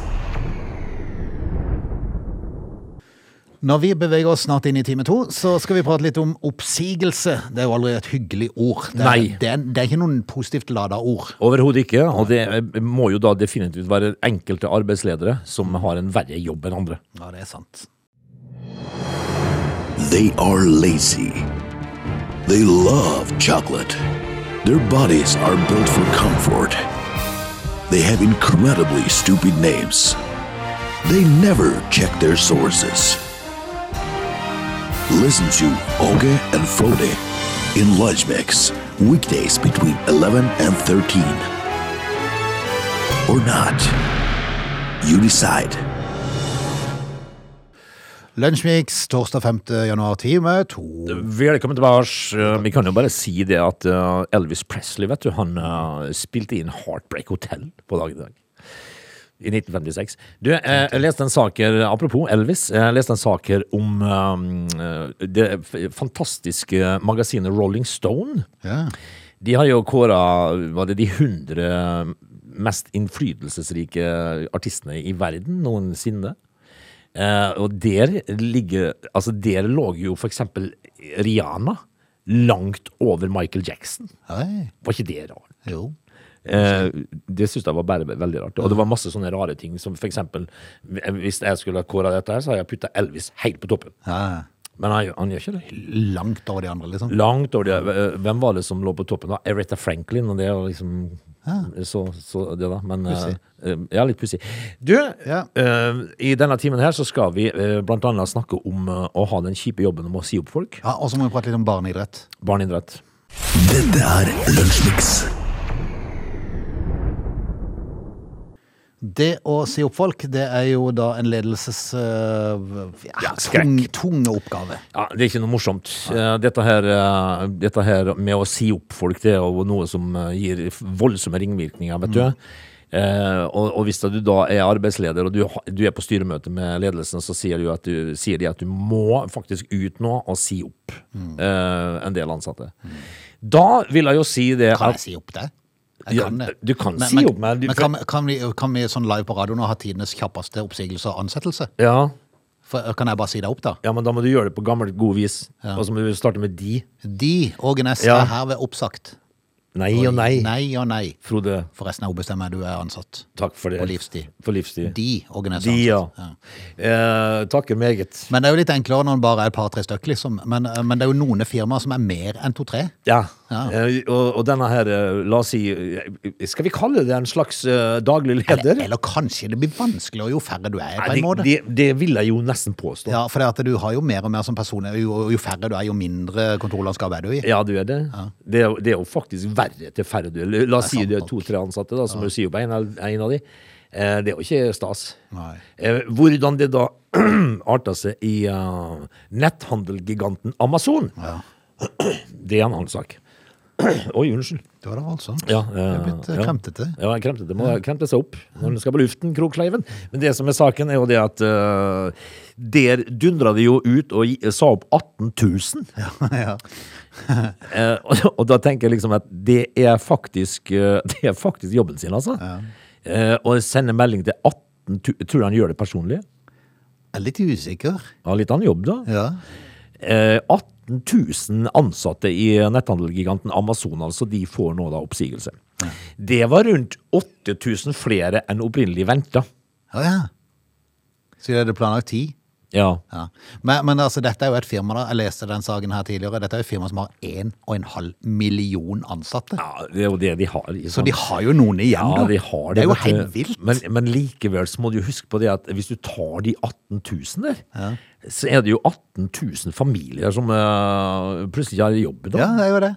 [SPEAKER 1] Når vi beveger oss snart inn i time to, så skal vi prate litt om oppsigelse. Det er jo aldri et hyggelig ord. Det er,
[SPEAKER 3] Nei.
[SPEAKER 1] Det er, det er ikke noen positivt lada ord.
[SPEAKER 3] Overhodet ikke. Og det eh, må jo da definitivt være enkelte arbeidsledere som har en verre jobb enn andre.
[SPEAKER 1] Ja, det er sant.
[SPEAKER 4] They are lazy. They love chocolate. Their bodies are built for comfort. They have incredibly stupid names. They never check their sources. Listen to Oge and Frode in Lunch Mix, weekdays between 11 and 13. Or not. You decide.
[SPEAKER 1] Lunsjmix torsdag 5. januar, time to.
[SPEAKER 3] Velkommen tilbake. Eh, Vi kan jo bare si det at eh, Elvis Presley, vet du, han eh, spilte inn Heartbreak Hotel på dagen i dag. I 1956. Du, eh, jeg leste en sak her, apropos Elvis, jeg leste en sak her om eh, det f- fantastiske magasinet Rolling Stone.
[SPEAKER 1] Ja.
[SPEAKER 3] De har jo kåra var det de 100 mest innflytelsesrike artistene i verden noensinne. Eh, og der ligger Altså, der lå jo for eksempel Rihanna langt over Michael Jackson.
[SPEAKER 1] Hei.
[SPEAKER 3] Var ikke det rart?
[SPEAKER 1] Jo.
[SPEAKER 3] Eh, det syns jeg var bare veldig rart. Og det var masse sånne rare ting som for eksempel Hvis jeg skulle ha kåra dette her, så hadde jeg putta Elvis helt på toppen.
[SPEAKER 1] Ja.
[SPEAKER 3] Men han, gjør- han gjør ikke det.
[SPEAKER 1] Langt over de andre, liksom.
[SPEAKER 3] Langt over det. Hvem var det som lå på toppen da? Aretha Franklin, og det er jo liksom så, så det da, men
[SPEAKER 1] Pussig.
[SPEAKER 3] eh, eh, Ja, litt pussig. Du,
[SPEAKER 1] Ja.
[SPEAKER 3] eh, i denne timen her så skal vi eh, blant annet snakke om eh, å ha den kjipe jobben om å si opp folk.
[SPEAKER 1] Ja, og så må vi prate litt om barneidrett.
[SPEAKER 3] Barneidrett.
[SPEAKER 4] Dette er Lunsjmix.
[SPEAKER 1] Det å si opp folk, det er jo da en ledelses... øh, ja, tung,
[SPEAKER 3] skrekk.
[SPEAKER 1] tunge oppgave.
[SPEAKER 3] Ja, Det er ikke noe morsomt. Eh, Dette her, eh, dette her med å si opp folk, det er jo noe som eh, gir voldsomme ringvirkninger, vet du. Eh, og, og hvis da du da er arbeidsleder og du, ha- du er på styremøte med ledelsen, så sier, du at du, sier de at du må faktisk ut nå og si opp eh, en del ansatte. Da vil jeg jo si det
[SPEAKER 1] Kan
[SPEAKER 3] at
[SPEAKER 1] jeg si opp det?
[SPEAKER 3] Ja, du kan si opp, men
[SPEAKER 1] men,
[SPEAKER 3] du-
[SPEAKER 1] kan, kan, vi, kan vi sånn live på radioen nå ha tidenes kjappeste oppsigelse og ansettelse?
[SPEAKER 3] ja,
[SPEAKER 1] For, øh, kan jeg bare si det opp, da?
[SPEAKER 3] ja, men da må du gjøre det på gammelt, god vis. Og så må du starte med de.
[SPEAKER 1] De og Ness
[SPEAKER 3] Ja.
[SPEAKER 1] er herved oppsagt.
[SPEAKER 3] Nei og nei.
[SPEAKER 1] Nei og nei.
[SPEAKER 3] Frode,
[SPEAKER 1] Forresten jeg ombestemmer meg, du er ansatt.
[SPEAKER 3] takk for det.
[SPEAKER 1] På livstid.
[SPEAKER 3] For livstid.
[SPEAKER 1] De organiserte
[SPEAKER 3] De, ja.
[SPEAKER 1] ansatt. Ja.
[SPEAKER 3] Eh, takker meget.
[SPEAKER 1] Men det er jo litt enklere når det bare er et par-tre stykker, liksom. Men, eh, men det er jo noen firmaer som er mer enn to-tre.
[SPEAKER 3] Ja.
[SPEAKER 1] Ja.
[SPEAKER 3] Eh, og, og denne her, eh, la oss si eh, Skal vi kalle det en slags eh, daglig
[SPEAKER 1] Eller,
[SPEAKER 3] leder?
[SPEAKER 1] eller kanskje det blir vanskeligere jo færre du er, på en
[SPEAKER 3] Nei,
[SPEAKER 1] måte.
[SPEAKER 3] det, det, det vil jeg jo nesten påstå.
[SPEAKER 1] Ja,
[SPEAKER 3] Ja,
[SPEAKER 1] for det at du har jo mer og mer som person. Jo, jo færre du er, jo mindre kontorlandskap er du i.
[SPEAKER 3] du er det. Det, er, jo- det er jo faktisk verre til færre du La oss
[SPEAKER 1] Det er
[SPEAKER 3] si
[SPEAKER 1] sant
[SPEAKER 3] det er
[SPEAKER 1] nok.
[SPEAKER 3] to-tre ansatte, da, som du sier på en, av- en av de. Eh, det er jo ikke stas.
[SPEAKER 1] Nei.
[SPEAKER 3] Eh, hvordan det da arta seg i eh, netthandelgiganten Amazon,
[SPEAKER 1] Ja.
[SPEAKER 3] det er en annen sak. Oi, unnskyld.
[SPEAKER 1] Det var da altså.
[SPEAKER 3] Ja,
[SPEAKER 1] det er blitt eh,
[SPEAKER 3] ja.
[SPEAKER 1] kremtete.
[SPEAKER 3] Ja, han kremte, det må kremte seg opp når den skal på luften, Kroksleiven. Men det som er saken, er jo det at eh, der dundra det jo ut og gi- eh, sa opp 18 000.
[SPEAKER 1] ja.
[SPEAKER 3] Eh, og, og da tenker jeg liksom at det er faktisk, eh, det er faktisk jobben sin, altså. Eh, og sende melding til 18 000 Tror du han gjør det personlig?
[SPEAKER 1] Jeg er litt usikker.
[SPEAKER 3] Har litt annen jobb, da.
[SPEAKER 1] Ja.
[SPEAKER 3] Eh, 18 000 ansatte i netthandelgiganten Amazon, altså, de får nå da oppsigelse. Det var rundt 8000 flere enn opprinnelig venta.
[SPEAKER 1] Å ja. Så de hadde planlagt ti.
[SPEAKER 3] Ja.
[SPEAKER 1] Ja. Men, men altså, dette er jo et firma, da. Jeg leste den saken her tidligere. Dette er jo et firma som har én og en halv million ansatte.
[SPEAKER 3] ja, det er jo det de har. ikke
[SPEAKER 1] Så
[SPEAKER 3] sant?
[SPEAKER 1] de har jo noen igjen,
[SPEAKER 3] ja,
[SPEAKER 1] da.
[SPEAKER 3] de har det.
[SPEAKER 1] det er jo
[SPEAKER 3] vet du.
[SPEAKER 1] helt vilt.
[SPEAKER 3] Men, men likevel så må du jo huske på det at hvis du tar de 18 000 der, så er det jo 18 000 familier som eh, plutselig ikke har jobb. Da.
[SPEAKER 1] Ja, det er jo det.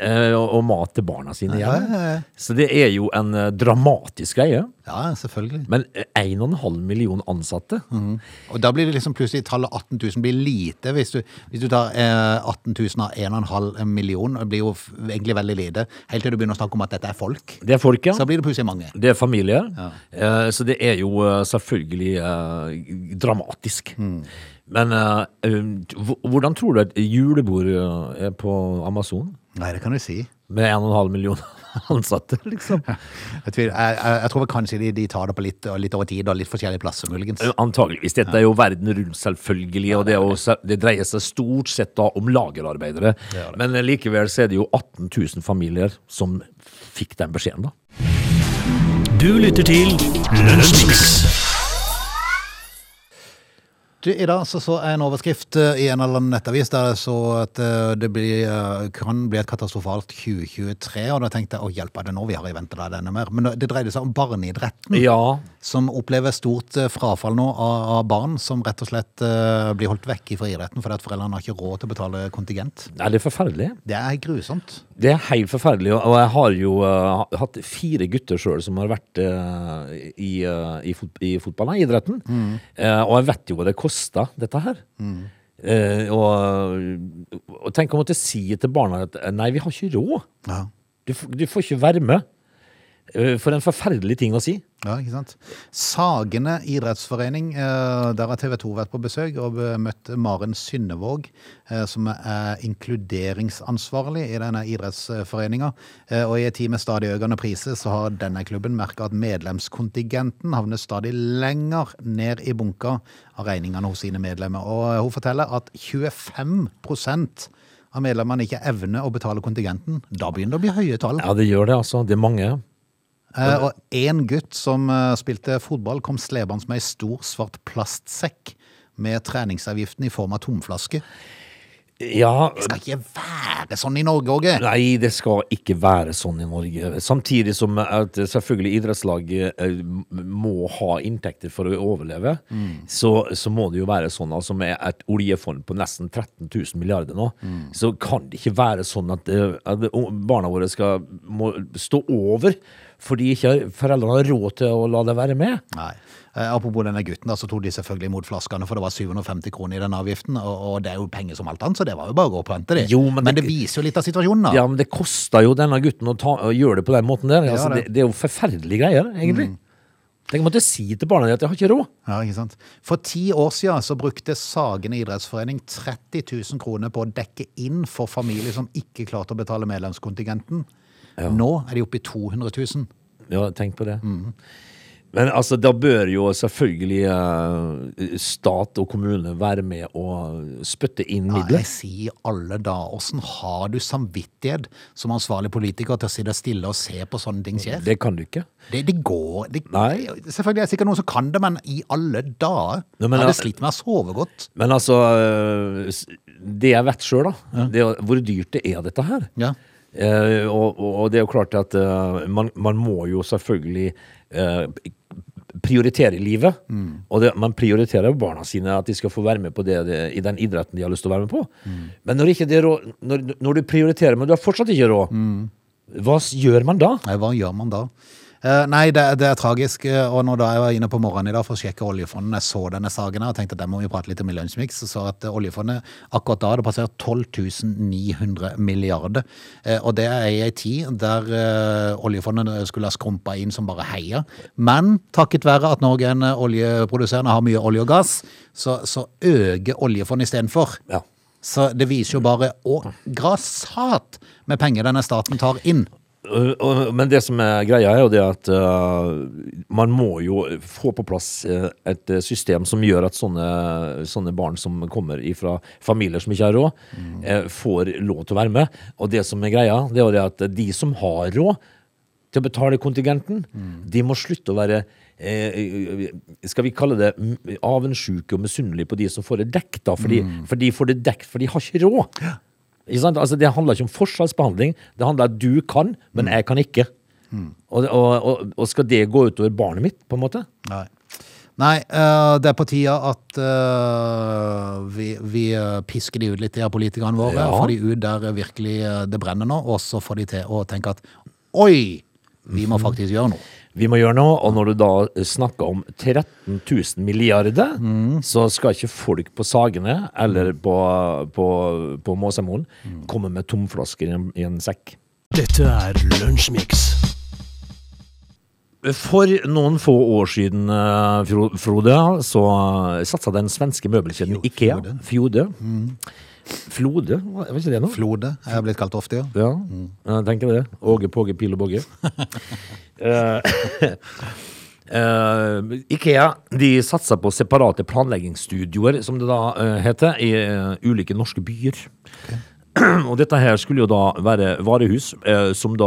[SPEAKER 3] Eh, og, og mat til barna sine
[SPEAKER 1] Ja,
[SPEAKER 3] igjen.
[SPEAKER 1] ja, ja.
[SPEAKER 3] Så det er jo en eh, dramatisk greie.
[SPEAKER 1] Ja, selvfølgelig.
[SPEAKER 3] Men eh, 1,5 million ansatte?
[SPEAKER 1] Og da blir det liksom plutselig tallet 18 000 blir lite. Hvis du, hvis du tar eh, 18 000 av 1,5 million, det blir jo f- egentlig veldig lite. Helt til du begynner å snakke om at dette er folk.
[SPEAKER 3] Det er folk, ja.
[SPEAKER 1] Så blir det plutselig mange.
[SPEAKER 3] Det er familier. Eh, Så det er jo eh, selvfølgelig eh, dramatisk. Men eh, um, hv- hvordan tror du at julebord eh, er på Amazon?
[SPEAKER 1] Nei, det kan du si.
[SPEAKER 3] Med 1,5 million ansatte, liksom.
[SPEAKER 1] Jeg, tvil, jeg, jeg, jeg tror vel kanskje de, de tar det på litt, litt over tid og litt forskjellige plasser, muligens.
[SPEAKER 3] Eh, Antageligvis. Dette er jo verden rundt, selvfølgelig. Og det, er jo, se- det dreier seg stort sett da om lagerarbeidere. Men eh, likevel så er det jo 18 000 familier som fikk den beskjeden, da.
[SPEAKER 2] Du lytter til Lunsjmix.
[SPEAKER 1] Du, I dag så, så jeg en overskrift eh, i en eller annen nettavis der jeg så at eh, det blir, eh, kan bli et katastrofalt 2023. Og da tenkte jeg å hjelpe er det nå vi har i vente da, denne mer. Men det dreide seg om barneidretten.
[SPEAKER 3] Ja,
[SPEAKER 1] som opplever stort eh, frafall nå av, av barn som rett og slett eh, blir holdt vekk fra idretten fordi at foreldrene har ikke råd til å betale kontingent.
[SPEAKER 3] er det forferdelig?
[SPEAKER 1] Det er grusomt.
[SPEAKER 3] Det er helt forferdelig, og- og jeg har jo eh, ha- hatt fire gutter sjøl som har vært eh, i, eh, i, fot i fotballen, i idretten. Eh, og jeg vet jo hva det kosta, dette her. Eh, og, og tenk å måtte si til barna at eh, nei, vi har ikke råd.
[SPEAKER 1] Ja.
[SPEAKER 3] Du, f- du får ikke være med. Eh, for en forferdelig ting å si.
[SPEAKER 1] Ja, ikke sant? Sagene idrettsforening, eh, der har TV 2 vært på besøk og eh, møtt Maren Synnevåg, eh, som er inkluderingsansvarlig i denne idrettsforeninga. Eh, Og i en tid med stadig økende priser, så har denne klubben merka at medlemskontingenten havner stadig lenger ned i bunka av regningene hos sine medlemmer. Og eh, hun forteller at 25 av medlemmene ikke evner å betale kontingenten. Da begynner det å bli høye tall.
[SPEAKER 3] Ja, det gjør det, altså. Det er mange.
[SPEAKER 1] Eh, og en gutt som eh, spilte fotball, kom slebende med ei stor, svart plastsekk med treningsavgiften i form av tomflaske.
[SPEAKER 3] Ja,
[SPEAKER 1] Det skal ikke være sånn i Norge, Åge!
[SPEAKER 3] Nei, det skal ikke være sånn i Norge. Samtidig som at selvfølgelig idrettslag eh, må ha inntekter for å overleve, så, så må det jo være sånn, altså med et oljefond på nesten 13 000 milliarder nå, så kan det ikke være sånn at, eh, at barna våre skal må stå over fordi ikke foreldrene har råd til å la det være med.
[SPEAKER 1] Nei. Eh, apropos denne gutten, da, så tok de selvfølgelig imot flaskene, for det var 750 kroner i den avgiften, og, og det er jo penger som alt annet, så det var jo bare å gå på hente, det.
[SPEAKER 3] Jo, men
[SPEAKER 1] men
[SPEAKER 3] det-
[SPEAKER 1] det viser jo litt av situasjonen, da.
[SPEAKER 3] Ja, men det koster jo denne gutten å, ta, å gjøre det på den måten der. Altså,
[SPEAKER 1] det.
[SPEAKER 3] det. Det, Mm. er jo forferdelige greier, egentlig. Tenk om jeg måtte si til barna dine at jeg har ikke råd.
[SPEAKER 1] Ja, ikke sant? For ti år siden så brukte Sagene idrettsforening 30 000 kroner på å dekke inn for familier som ikke klarte å betale medlemskontingenten. Nå er de oppe i 200 000. Mm.
[SPEAKER 3] Ja, tenk på det. Men altså, da bør jo selvfølgelig eh, stat og kommune være med og spytte inn midler.
[SPEAKER 1] Jeg sier alle da, hvordan har du samvittighet som ansvarlig politiker til å sitte stille og se på sånne ting skjer?
[SPEAKER 3] Det kan du ikke.
[SPEAKER 1] Det, det går det,
[SPEAKER 3] Nei.
[SPEAKER 1] Selvfølgelig er det sikkert noen som kan det, men i alle dager
[SPEAKER 3] Nei,
[SPEAKER 1] Jeg
[SPEAKER 3] men da-
[SPEAKER 1] hadde slitt med å sove godt.
[SPEAKER 3] Men altså, eh, s- det jeg vet sjøl, da, det er hvor dyrt det er dette her.
[SPEAKER 1] Ja.
[SPEAKER 3] Eh, og, og og det er jo klart at eh, man, man må jo selvfølgelig eh, prioritere livet. Og det, man prioriterer jo barna sine, at de skal få være med på det, det i den idretten de har lyst til å være med på. Men når, ikke det er råd, når, når du prioriterer, men du har fortsatt ikke råd, hva s- gjør man da?
[SPEAKER 1] Nei, hva gjør man da? Eh, nei, det, det er tragisk. eh, Og når da jeg var inne på morgenen i dag for å sjekke oljefondet, jeg så denne saken her og tenkte at den må vi prate litt om i Lunsjmix, så at eh, oljefondet akkurat da hadde passert 12 900 milliarder. Eh, og det er i ei tid der eh, oljefondet skulle ha skrumpa inn som bare heia. Men takket være at Norge er en eh, oljeproduserende har mye olje og gass, så, så øker oljefondet istedenfor.
[SPEAKER 3] Ja.
[SPEAKER 1] Så det viser jo bare å grassat med penger denne staten tar inn.
[SPEAKER 3] Øh, og- Men det som er greia, er jo det at øh, man må jo få på plass øh, et øh, system som gjør at sånne, sånne barn som kommer fra familier som ikke har råd, eh, får lov til å være med. Og det som er greia, det er jo det at de som har råd til å betale kontingenten, de må slutte å være eh, skal vi kalle det m- avundsjuke og misunnelige på de som får det dekket, da, for, de, for de får det dekket, for de har ikke råd. Ikke sant? Altså, det handler ikke om forskjellsbehandling. Det handler om at du kan, men jeg kan ikke. Og, og, og, og skal det gå utover barnet mitt, på en måte?
[SPEAKER 1] Nei. Nei, eh, det er på tide at eh, vi, vi eh, pisker de ut litt, de her politikerne våre.
[SPEAKER 3] Ja.
[SPEAKER 1] Får de ut der eh, virkelig eh, det brenner nå, og så får de til å tenke at oi, vi må faktisk gjøre noe.
[SPEAKER 3] Vi må gjøre noe, og når du da snakker om 13 000 milliarder, så skal ikke folk på Sagene eller på, på, på Måsemoen komme med tomflasker i en, i en sekk.
[SPEAKER 2] Dette er Lunsjmix.
[SPEAKER 3] For noen få år siden, eh, Fro- Frode, så satsa den svenske møbelkjeden Ikea Fjode. Flode, var ikke det noe?
[SPEAKER 1] Flode er jeg blitt kalt ofte, ja.
[SPEAKER 3] Ja, jeg tenker det. Åge, Påge, Pil og Båge. Eh, eh, Ikea de satser på separate planleggingsstudioer, som det da eh, heter, i eh, ulike norske byer. Og dette her skulle jo da være varehus eh, som da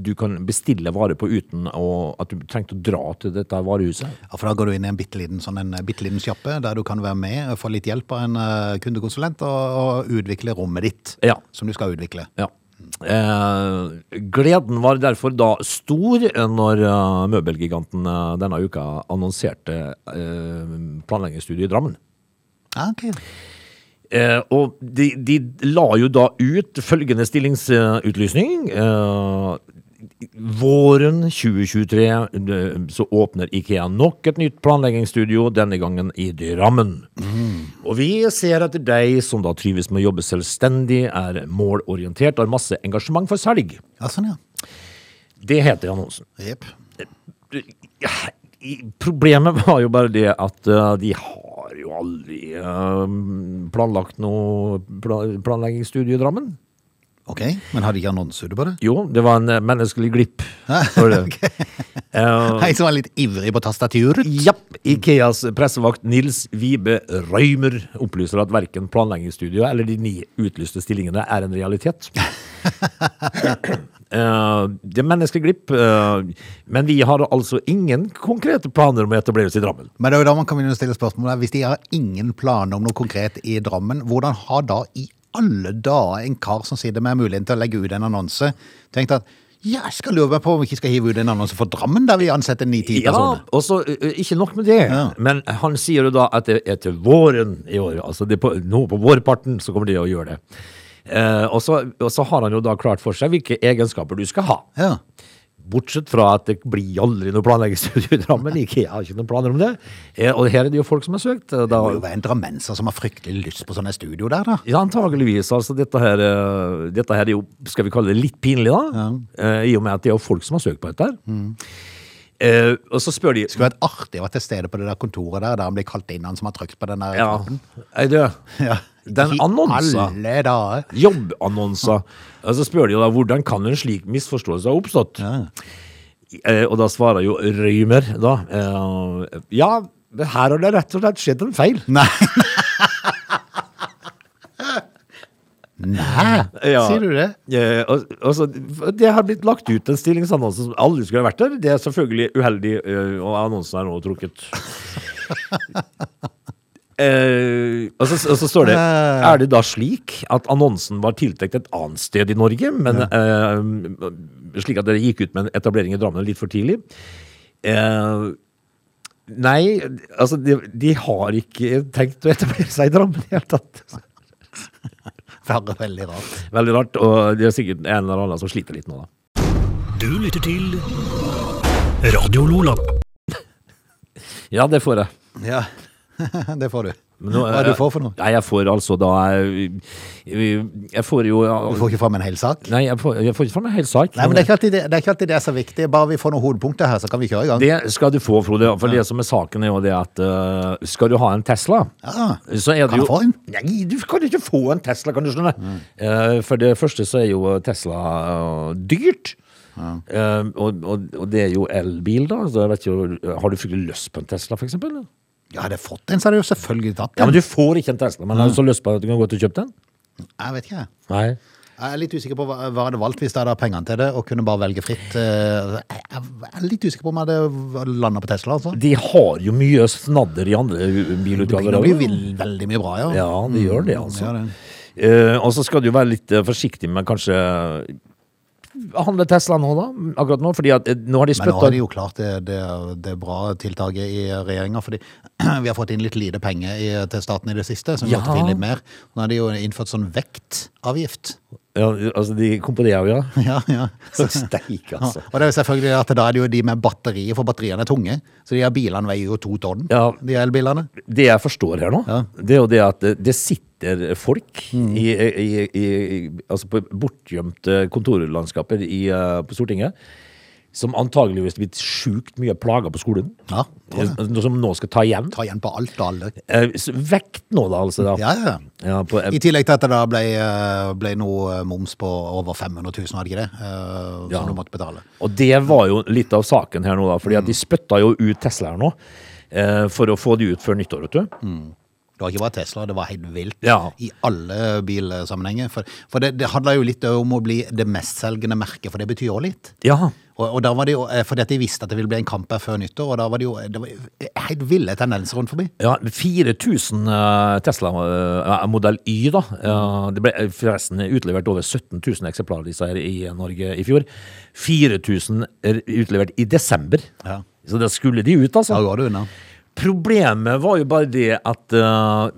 [SPEAKER 3] du kan bestille varer på uten å, at du trengte å dra til dette varehuset.
[SPEAKER 1] ja. For da går du inn i en bitte liten sånn, en, eh, bitte liten sjappe der du kan være med, eh, få litt hjelp av en eh, kundekonsulent og, og utvikle rommet ditt,
[SPEAKER 3] Ja.
[SPEAKER 1] som du skal utvikle.
[SPEAKER 3] Ja. Eh, gleden var derfor da stor eh, når eh, møbelgiganten eh, denne uka annonserte eh, planleggingsstudiet i Drammen.
[SPEAKER 1] Ja, Ah, ok.
[SPEAKER 3] Eh, og de, de la jo da ut følgende stillingsutlysning. Eh, våren 2023 eh, så åpner Ikea nok et nytt planleggingsstudio, denne gangen i Drammen. Og vi ser at de som da trives med å jobbe selvstendig, er målorientert og har masse engasjement for salg.
[SPEAKER 1] Ja, sånn, ja.
[SPEAKER 3] Det heter annonsen.
[SPEAKER 1] Jepp.
[SPEAKER 3] Ja, i- Problemet var jo bare det at eh, de har jo aldri eh, planlagt noe pla planleggingsstudie i Drammen.
[SPEAKER 1] Ok, men har de ikke annonser på det?
[SPEAKER 3] Jo, det var en eh, menneskelig glipp. For det. Eh,
[SPEAKER 1] Hei, som var litt ivrig på tastaturet.
[SPEAKER 3] Japp, Ikeas pressevakt Nils Vibe Røymer opplyser at verken planleggingsstudioet eller de ni utlyste stillingene er en realitet. Eh, det er menneskeglipp, eh, men vi har altså ingen konkrete planer om å etableres i Drammen.
[SPEAKER 1] Men det er jo da man kan begynne å stille spørsmål der. Hvis de har ingen planer om noe konkret i Drammen, hvordan har da i alle dager en kar som sitter med muligheten til å legge ut en annonse, tenkt at ja, jeg skal lure meg på om vi ikke skal hive ut en annonse for Drammen, der vi ansetter ni-ti
[SPEAKER 3] Ja,
[SPEAKER 1] personer?
[SPEAKER 3] og så ø, ø, ikke nok med det,
[SPEAKER 1] Ja.
[SPEAKER 3] men han sier jo da at det er til våren i år, altså det er på, nå på vårparten så kommer de å gjøre det. Eh, og, så, og så har han jo da klart for seg hvilke egenskaper du skal ha.
[SPEAKER 1] Ja.
[SPEAKER 3] Bortsett fra at det blir aldri noe planleggingsstudio i Drammen, IKEA har ikke noen planer om det. Eh, og her er det jo folk som har søkt. eh,
[SPEAKER 1] Det
[SPEAKER 3] Da,
[SPEAKER 1] må jo være en drammenser som har fryktelig lyst på sånne studio der, da.
[SPEAKER 3] ja, antageligvis. Altså, dette her, eh, dette her er jo, skal vi kalle det litt pinlig da, eh, i og med at det er jo folk som har søkt på dette her.
[SPEAKER 1] Mm.
[SPEAKER 3] Eh, og så spør de,
[SPEAKER 1] Det skulle vært artig å være til stede på det der kontoret der, der han blir kalt inn, han som har trykt på den der
[SPEAKER 3] ja,
[SPEAKER 1] knappen.
[SPEAKER 3] er det,
[SPEAKER 1] Ja.
[SPEAKER 3] den
[SPEAKER 1] I
[SPEAKER 3] annonsen,
[SPEAKER 1] Alle dager.
[SPEAKER 3] Altså, Jobbannonser. Og så spør de jo da hvordan kan en slik misforståelse ha oppstått. Eh, Og da svarer jo Røymer da eh, Ja, her har det rett og slett skjedd en feil.
[SPEAKER 1] Nei. Nei,
[SPEAKER 3] Ja.
[SPEAKER 1] sier du det?
[SPEAKER 3] Eh, og, og så, det har blitt lagt ut en stillingsannonse som aldri skulle ha vært der. Det er selvfølgelig uheldig, eh, og annonsen er nå trukket. Eh, og, så, og så står det
[SPEAKER 1] Eh.
[SPEAKER 3] Er det da slik at annonsen var tiltenkt et annet sted i Norge, men eh, slik at dere gikk ut med en etablering i Drammen litt for tidlig? Eh, nei, altså de, de har ikke tenkt å etablere seg i Drammen i det hele tatt.
[SPEAKER 1] Være veldig rart.
[SPEAKER 3] Veldig rart, og det er sikkert en eller annen som sliter litt nå, da.
[SPEAKER 2] Du lytter til Radio Lola.
[SPEAKER 3] Ja, det får jeg.
[SPEAKER 1] Ja, det får du.
[SPEAKER 3] Men nå,
[SPEAKER 1] Hva er det du får for noe?
[SPEAKER 3] Nei, jeg får altså da Jeg, jeg får jo
[SPEAKER 1] Du får ikke fram en hel sak?
[SPEAKER 3] Nei, jeg får, jeg får ikke fram en hel sak.
[SPEAKER 1] Nei, men det er, ikke alltid det, det er ikke alltid det er så viktig. Bare vi får noen hovedpunkter her, så kan vi kjøre i gang.
[SPEAKER 3] Det skal du få, Frode. For det som er saken, er jo det at øh, skal du ha en Tesla
[SPEAKER 1] Ja.
[SPEAKER 3] så er det
[SPEAKER 1] Kan
[SPEAKER 3] jo,
[SPEAKER 1] jeg få en? Mm.
[SPEAKER 3] Nei, du kan ikke få en Tesla, kan du skjønne. Eh, for det første så er jo Tesla øh, dyrt. Eh, og, og, og det er jo elbil, da. Så jeg vet ikke, har du fryktelig lyst på en Tesla, for eksempel?
[SPEAKER 1] Jeg hadde fått en, så hadde jeg jo selvfølgelig tatt
[SPEAKER 3] Ja, men
[SPEAKER 1] den.
[SPEAKER 3] du får ikke en Tesla, men har du så lyst på at du kan gå til og kjøpe den?
[SPEAKER 1] Jeg vet ikke, jeg.
[SPEAKER 3] Nei.
[SPEAKER 1] Jeg er litt usikker på hva hva jeg hadde valgt hvis jeg hadde hatt pengene til det og kunne bare velge fritt. Eh, Jeg jeg er litt usikker på om jeg hadde landa på Tesla, altså.
[SPEAKER 3] De har jo mye snadder i andre
[SPEAKER 1] Det
[SPEAKER 3] bilutgaver.
[SPEAKER 1] blir jo
[SPEAKER 3] også.
[SPEAKER 1] vill- veldig mye bra, ja.
[SPEAKER 3] Ja, de gjør det, altså.
[SPEAKER 1] Ja, det.
[SPEAKER 3] Eh, og så skal du være litt eh, forsiktig med kanskje Handle Tesla nå, da? Akkurat nå? Fordi at eh, nå har de
[SPEAKER 1] Men nå har
[SPEAKER 3] spytta
[SPEAKER 1] de jo klart det, det, det bra tiltaket i regjeringa, fordi vi har fått inn litt lite penger i, til staten i det siste, så vi
[SPEAKER 3] Ja.
[SPEAKER 1] måtte finne litt mer. Nå har de jo innført sånn vektavgift.
[SPEAKER 3] ja, Altså, de kom på det òg, ja?
[SPEAKER 1] Ja, ja.
[SPEAKER 3] Så Steik,
[SPEAKER 1] Ja,
[SPEAKER 3] altså.
[SPEAKER 1] Og det er jo selvfølgelig at da er det jo de med batterier, for batteriene er tunge. Så de her bilene veier jo to tonn,
[SPEAKER 3] Ja.
[SPEAKER 1] de elbilene.
[SPEAKER 3] Det jeg forstår her nå,
[SPEAKER 1] Ja. Mm.
[SPEAKER 3] det er jo det at eh, det sitter folk i, i, i, i Altså på bortgjemte kontorlandskaper i, eh, på Stortinget. Som antageligvis blir sjukt mye plaga på skolen.
[SPEAKER 1] Ja, tror jeg.
[SPEAKER 3] Noe som nå skal ta igjen.
[SPEAKER 1] Ta igjen på alt og alle.
[SPEAKER 3] Eh, s- Vekt nå, da, altså. Da.
[SPEAKER 1] Ja, ja, ja.
[SPEAKER 3] Ja, på, eh,
[SPEAKER 1] I tillegg til at det da ble, eh, ble noe moms på over 500 000, hadde ikke det? eh, Som
[SPEAKER 3] Ja.
[SPEAKER 1] du måtte betale.
[SPEAKER 3] og det var jo litt av saken her nå, da. Fordi at de
[SPEAKER 1] Mm.
[SPEAKER 3] spytta jo ut Tesla her nå. eh, For å få de ut før nyttår, vet
[SPEAKER 1] Mm.
[SPEAKER 3] du.
[SPEAKER 1] Det var ikke bare Tesla, det var helt vilt
[SPEAKER 3] Ja.
[SPEAKER 1] i alle bilsammenhenger. For, for det, det handla jo litt om å bli det mestselgende merket, for det betyr jo litt.
[SPEAKER 3] Ja.
[SPEAKER 1] Og, og da var det jo, eh, Fordi at de visste at det ville bli en kamp her før nyttår, og da var det jo det var helt ville tendenser rundt forbi.
[SPEAKER 3] Ja, 4000 eh, Tesla eh, modell Y, da. Eh, Det ble eh, forresten utlevert over 17 000 eksemplarer av disse her i Norge i fjor. 4000 er utlevert i desember.
[SPEAKER 1] Ja.
[SPEAKER 3] Så da skulle de ut, altså.
[SPEAKER 1] Da går det unna.
[SPEAKER 3] Problemet var jo bare det at eh,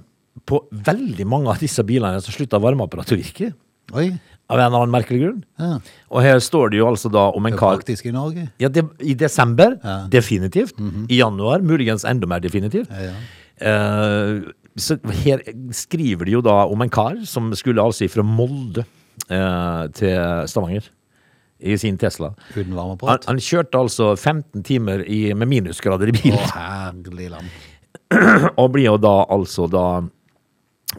[SPEAKER 3] på veldig mange av disse bilene så slutta varmeapparatet å virke.
[SPEAKER 1] Oi.
[SPEAKER 3] Av en eller annen merkelig grunn.
[SPEAKER 1] Ja.
[SPEAKER 3] Og her står det jo altså da om en
[SPEAKER 1] Det er
[SPEAKER 3] kar
[SPEAKER 1] praktisk i Norge.
[SPEAKER 3] ja, det, I desember,
[SPEAKER 1] Ja. Mhm.
[SPEAKER 3] definitivt. I januar, muligens enda mer definitivt.
[SPEAKER 1] Ja, ja.
[SPEAKER 3] Eh, så her skriver de jo da om en kar som skulle altså fra Molde eh, til Stavanger i sin Tesla.
[SPEAKER 1] Uten
[SPEAKER 3] Han,
[SPEAKER 1] varmeapparat.
[SPEAKER 3] han kjørte altså 15 timer i, med minusgrader i
[SPEAKER 1] Å,
[SPEAKER 3] bilen,
[SPEAKER 1] herlig land.
[SPEAKER 3] og blir jo da altså da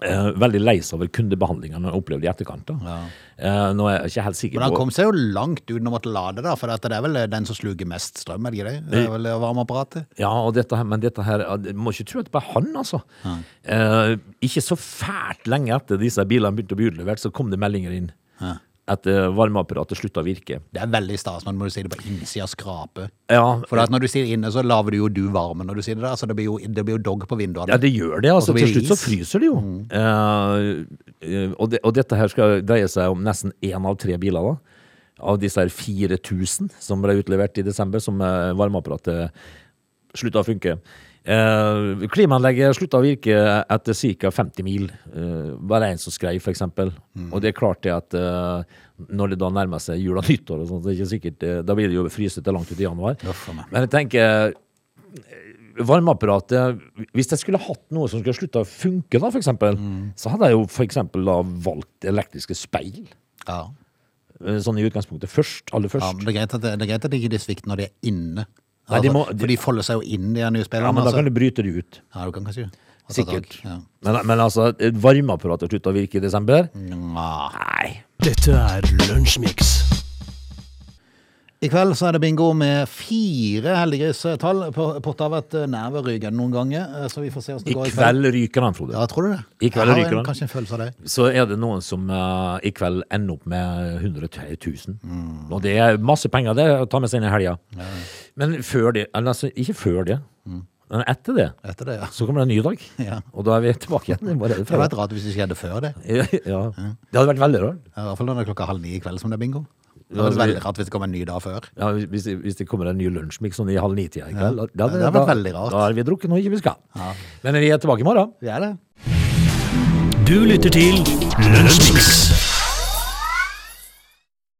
[SPEAKER 3] eh, veldig lei seg over kundebehandlingen han opplevde i etterkant. Da. Eh, nå er jeg ikke helt sikker
[SPEAKER 1] Men han
[SPEAKER 3] på
[SPEAKER 1] kom seg jo langt uten å måtte lade, da, for at det er vel den som sluker mest strøm, er det ikke det? Det er vel varmeapparatet?
[SPEAKER 3] Ja, og dette her, men dette her ja, det- Må ikke tro at det bare han, altså. Eh, ikke så fælt lenge etter disse bilene begynte å bli utlevert, så kom det meldinger inn. At eh, varmeapparatet slutta å virke.
[SPEAKER 1] Det er veldig stas når du sier det på innsida av skrapet.
[SPEAKER 3] Ja,
[SPEAKER 1] For at når du sier inne, så laver du jo du varmen når du sier det der, så det blir jo, det blir jo dog på
[SPEAKER 3] ja,
[SPEAKER 1] vinduene.
[SPEAKER 3] det gjør det. altså.
[SPEAKER 1] Og så Mm. blir
[SPEAKER 3] Til
[SPEAKER 1] det
[SPEAKER 3] slutt så
[SPEAKER 1] is.
[SPEAKER 3] fryser det jo. Eh, eh, og, det- og dette her skal dreie seg om nesten én av tre biler. da. Av disse her 4000 som ble utlevert i desember, som eh, varmeapparatet slutta å funke. Eh, klimaanlegget slutta å virke etter ca. 50 mil. Eh, var det en som skrev, f.eks. eksempel
[SPEAKER 1] Mm.
[SPEAKER 3] Og det er klart det at eh, når det da nærmer seg jul og nyttår, og sånt, så er det ikke sikkert, eh, da blir det jo frysete langt ut i januar.
[SPEAKER 1] Uff a meg.
[SPEAKER 3] Men jeg tenker varmeapparatet Hvis jeg skulle hatt noe som skulle slutta å funke, da, for eksempel,
[SPEAKER 1] Mm.
[SPEAKER 3] så hadde jeg jo for eksempel da valgt elektriske speil.
[SPEAKER 1] Ja.
[SPEAKER 3] eh, Sånn i utgangspunktet først. Aller
[SPEAKER 1] ja,
[SPEAKER 3] først.
[SPEAKER 1] men det er greit at det, det, er greit at det ikke de svikter når de er inne.
[SPEAKER 3] Nei, de må-
[SPEAKER 1] Altså, for de folder seg jo inn, de her nye
[SPEAKER 3] Ja,
[SPEAKER 1] spillerne.
[SPEAKER 3] men da
[SPEAKER 1] altså.
[SPEAKER 3] kan du bryte det ut.
[SPEAKER 1] Ja, du kan kanskje ta tak.
[SPEAKER 3] Sikkert.
[SPEAKER 1] Ja. Mm.
[SPEAKER 3] Men, men altså, et varmeapparat har slutta å virke i desember?
[SPEAKER 1] Nja.
[SPEAKER 3] Nei.
[SPEAKER 2] Dette er Lunsjmix.
[SPEAKER 1] I kveld så er det bingo med fire heldiggrissetall på potta av et eh, nerve ryker noen ganger. eh, Så vi får se hvordan
[SPEAKER 3] I
[SPEAKER 1] det går i kveld.
[SPEAKER 3] kveld ryker han, Frode.
[SPEAKER 1] Ja, tror du det?
[SPEAKER 3] I
[SPEAKER 1] Jeg
[SPEAKER 3] kveld
[SPEAKER 1] har
[SPEAKER 3] ryker
[SPEAKER 1] en-
[SPEAKER 3] han.
[SPEAKER 1] Kanskje en følelse av det.
[SPEAKER 3] Så er det noen som eh, i kveld ender opp med 100 000.
[SPEAKER 1] Mm.
[SPEAKER 3] Og det er masse penger det å ta med seg inn i helga. Men før det, eller altså ikke før det,
[SPEAKER 1] Mm.
[SPEAKER 3] men etter det,
[SPEAKER 1] Etter det, ja.
[SPEAKER 3] så kommer det en ny dag.
[SPEAKER 1] Ja.
[SPEAKER 3] Og da er vi tilbake igjen. Hva er det
[SPEAKER 1] Det hadde
[SPEAKER 3] for?
[SPEAKER 1] vært rart hvis det skjedde før det.
[SPEAKER 3] Ja, ja. Det hadde vært veldig rart.
[SPEAKER 1] I hvert fall når det er klokka halv ni i kveld som det er bingo. Det hadde vært veldig rart hvis det kom en ny dag før.
[SPEAKER 3] Ja, hvis, hvis det kommer en ny lunsjmix sånn i halv ni-tida i kveld. da-
[SPEAKER 1] det hadde vært veldig rart.
[SPEAKER 3] Da har vi drukket noe ikke vi skal. Men vi er tilbake i morgen.
[SPEAKER 1] Vi er det.
[SPEAKER 2] Du lytter til Lunsjmix.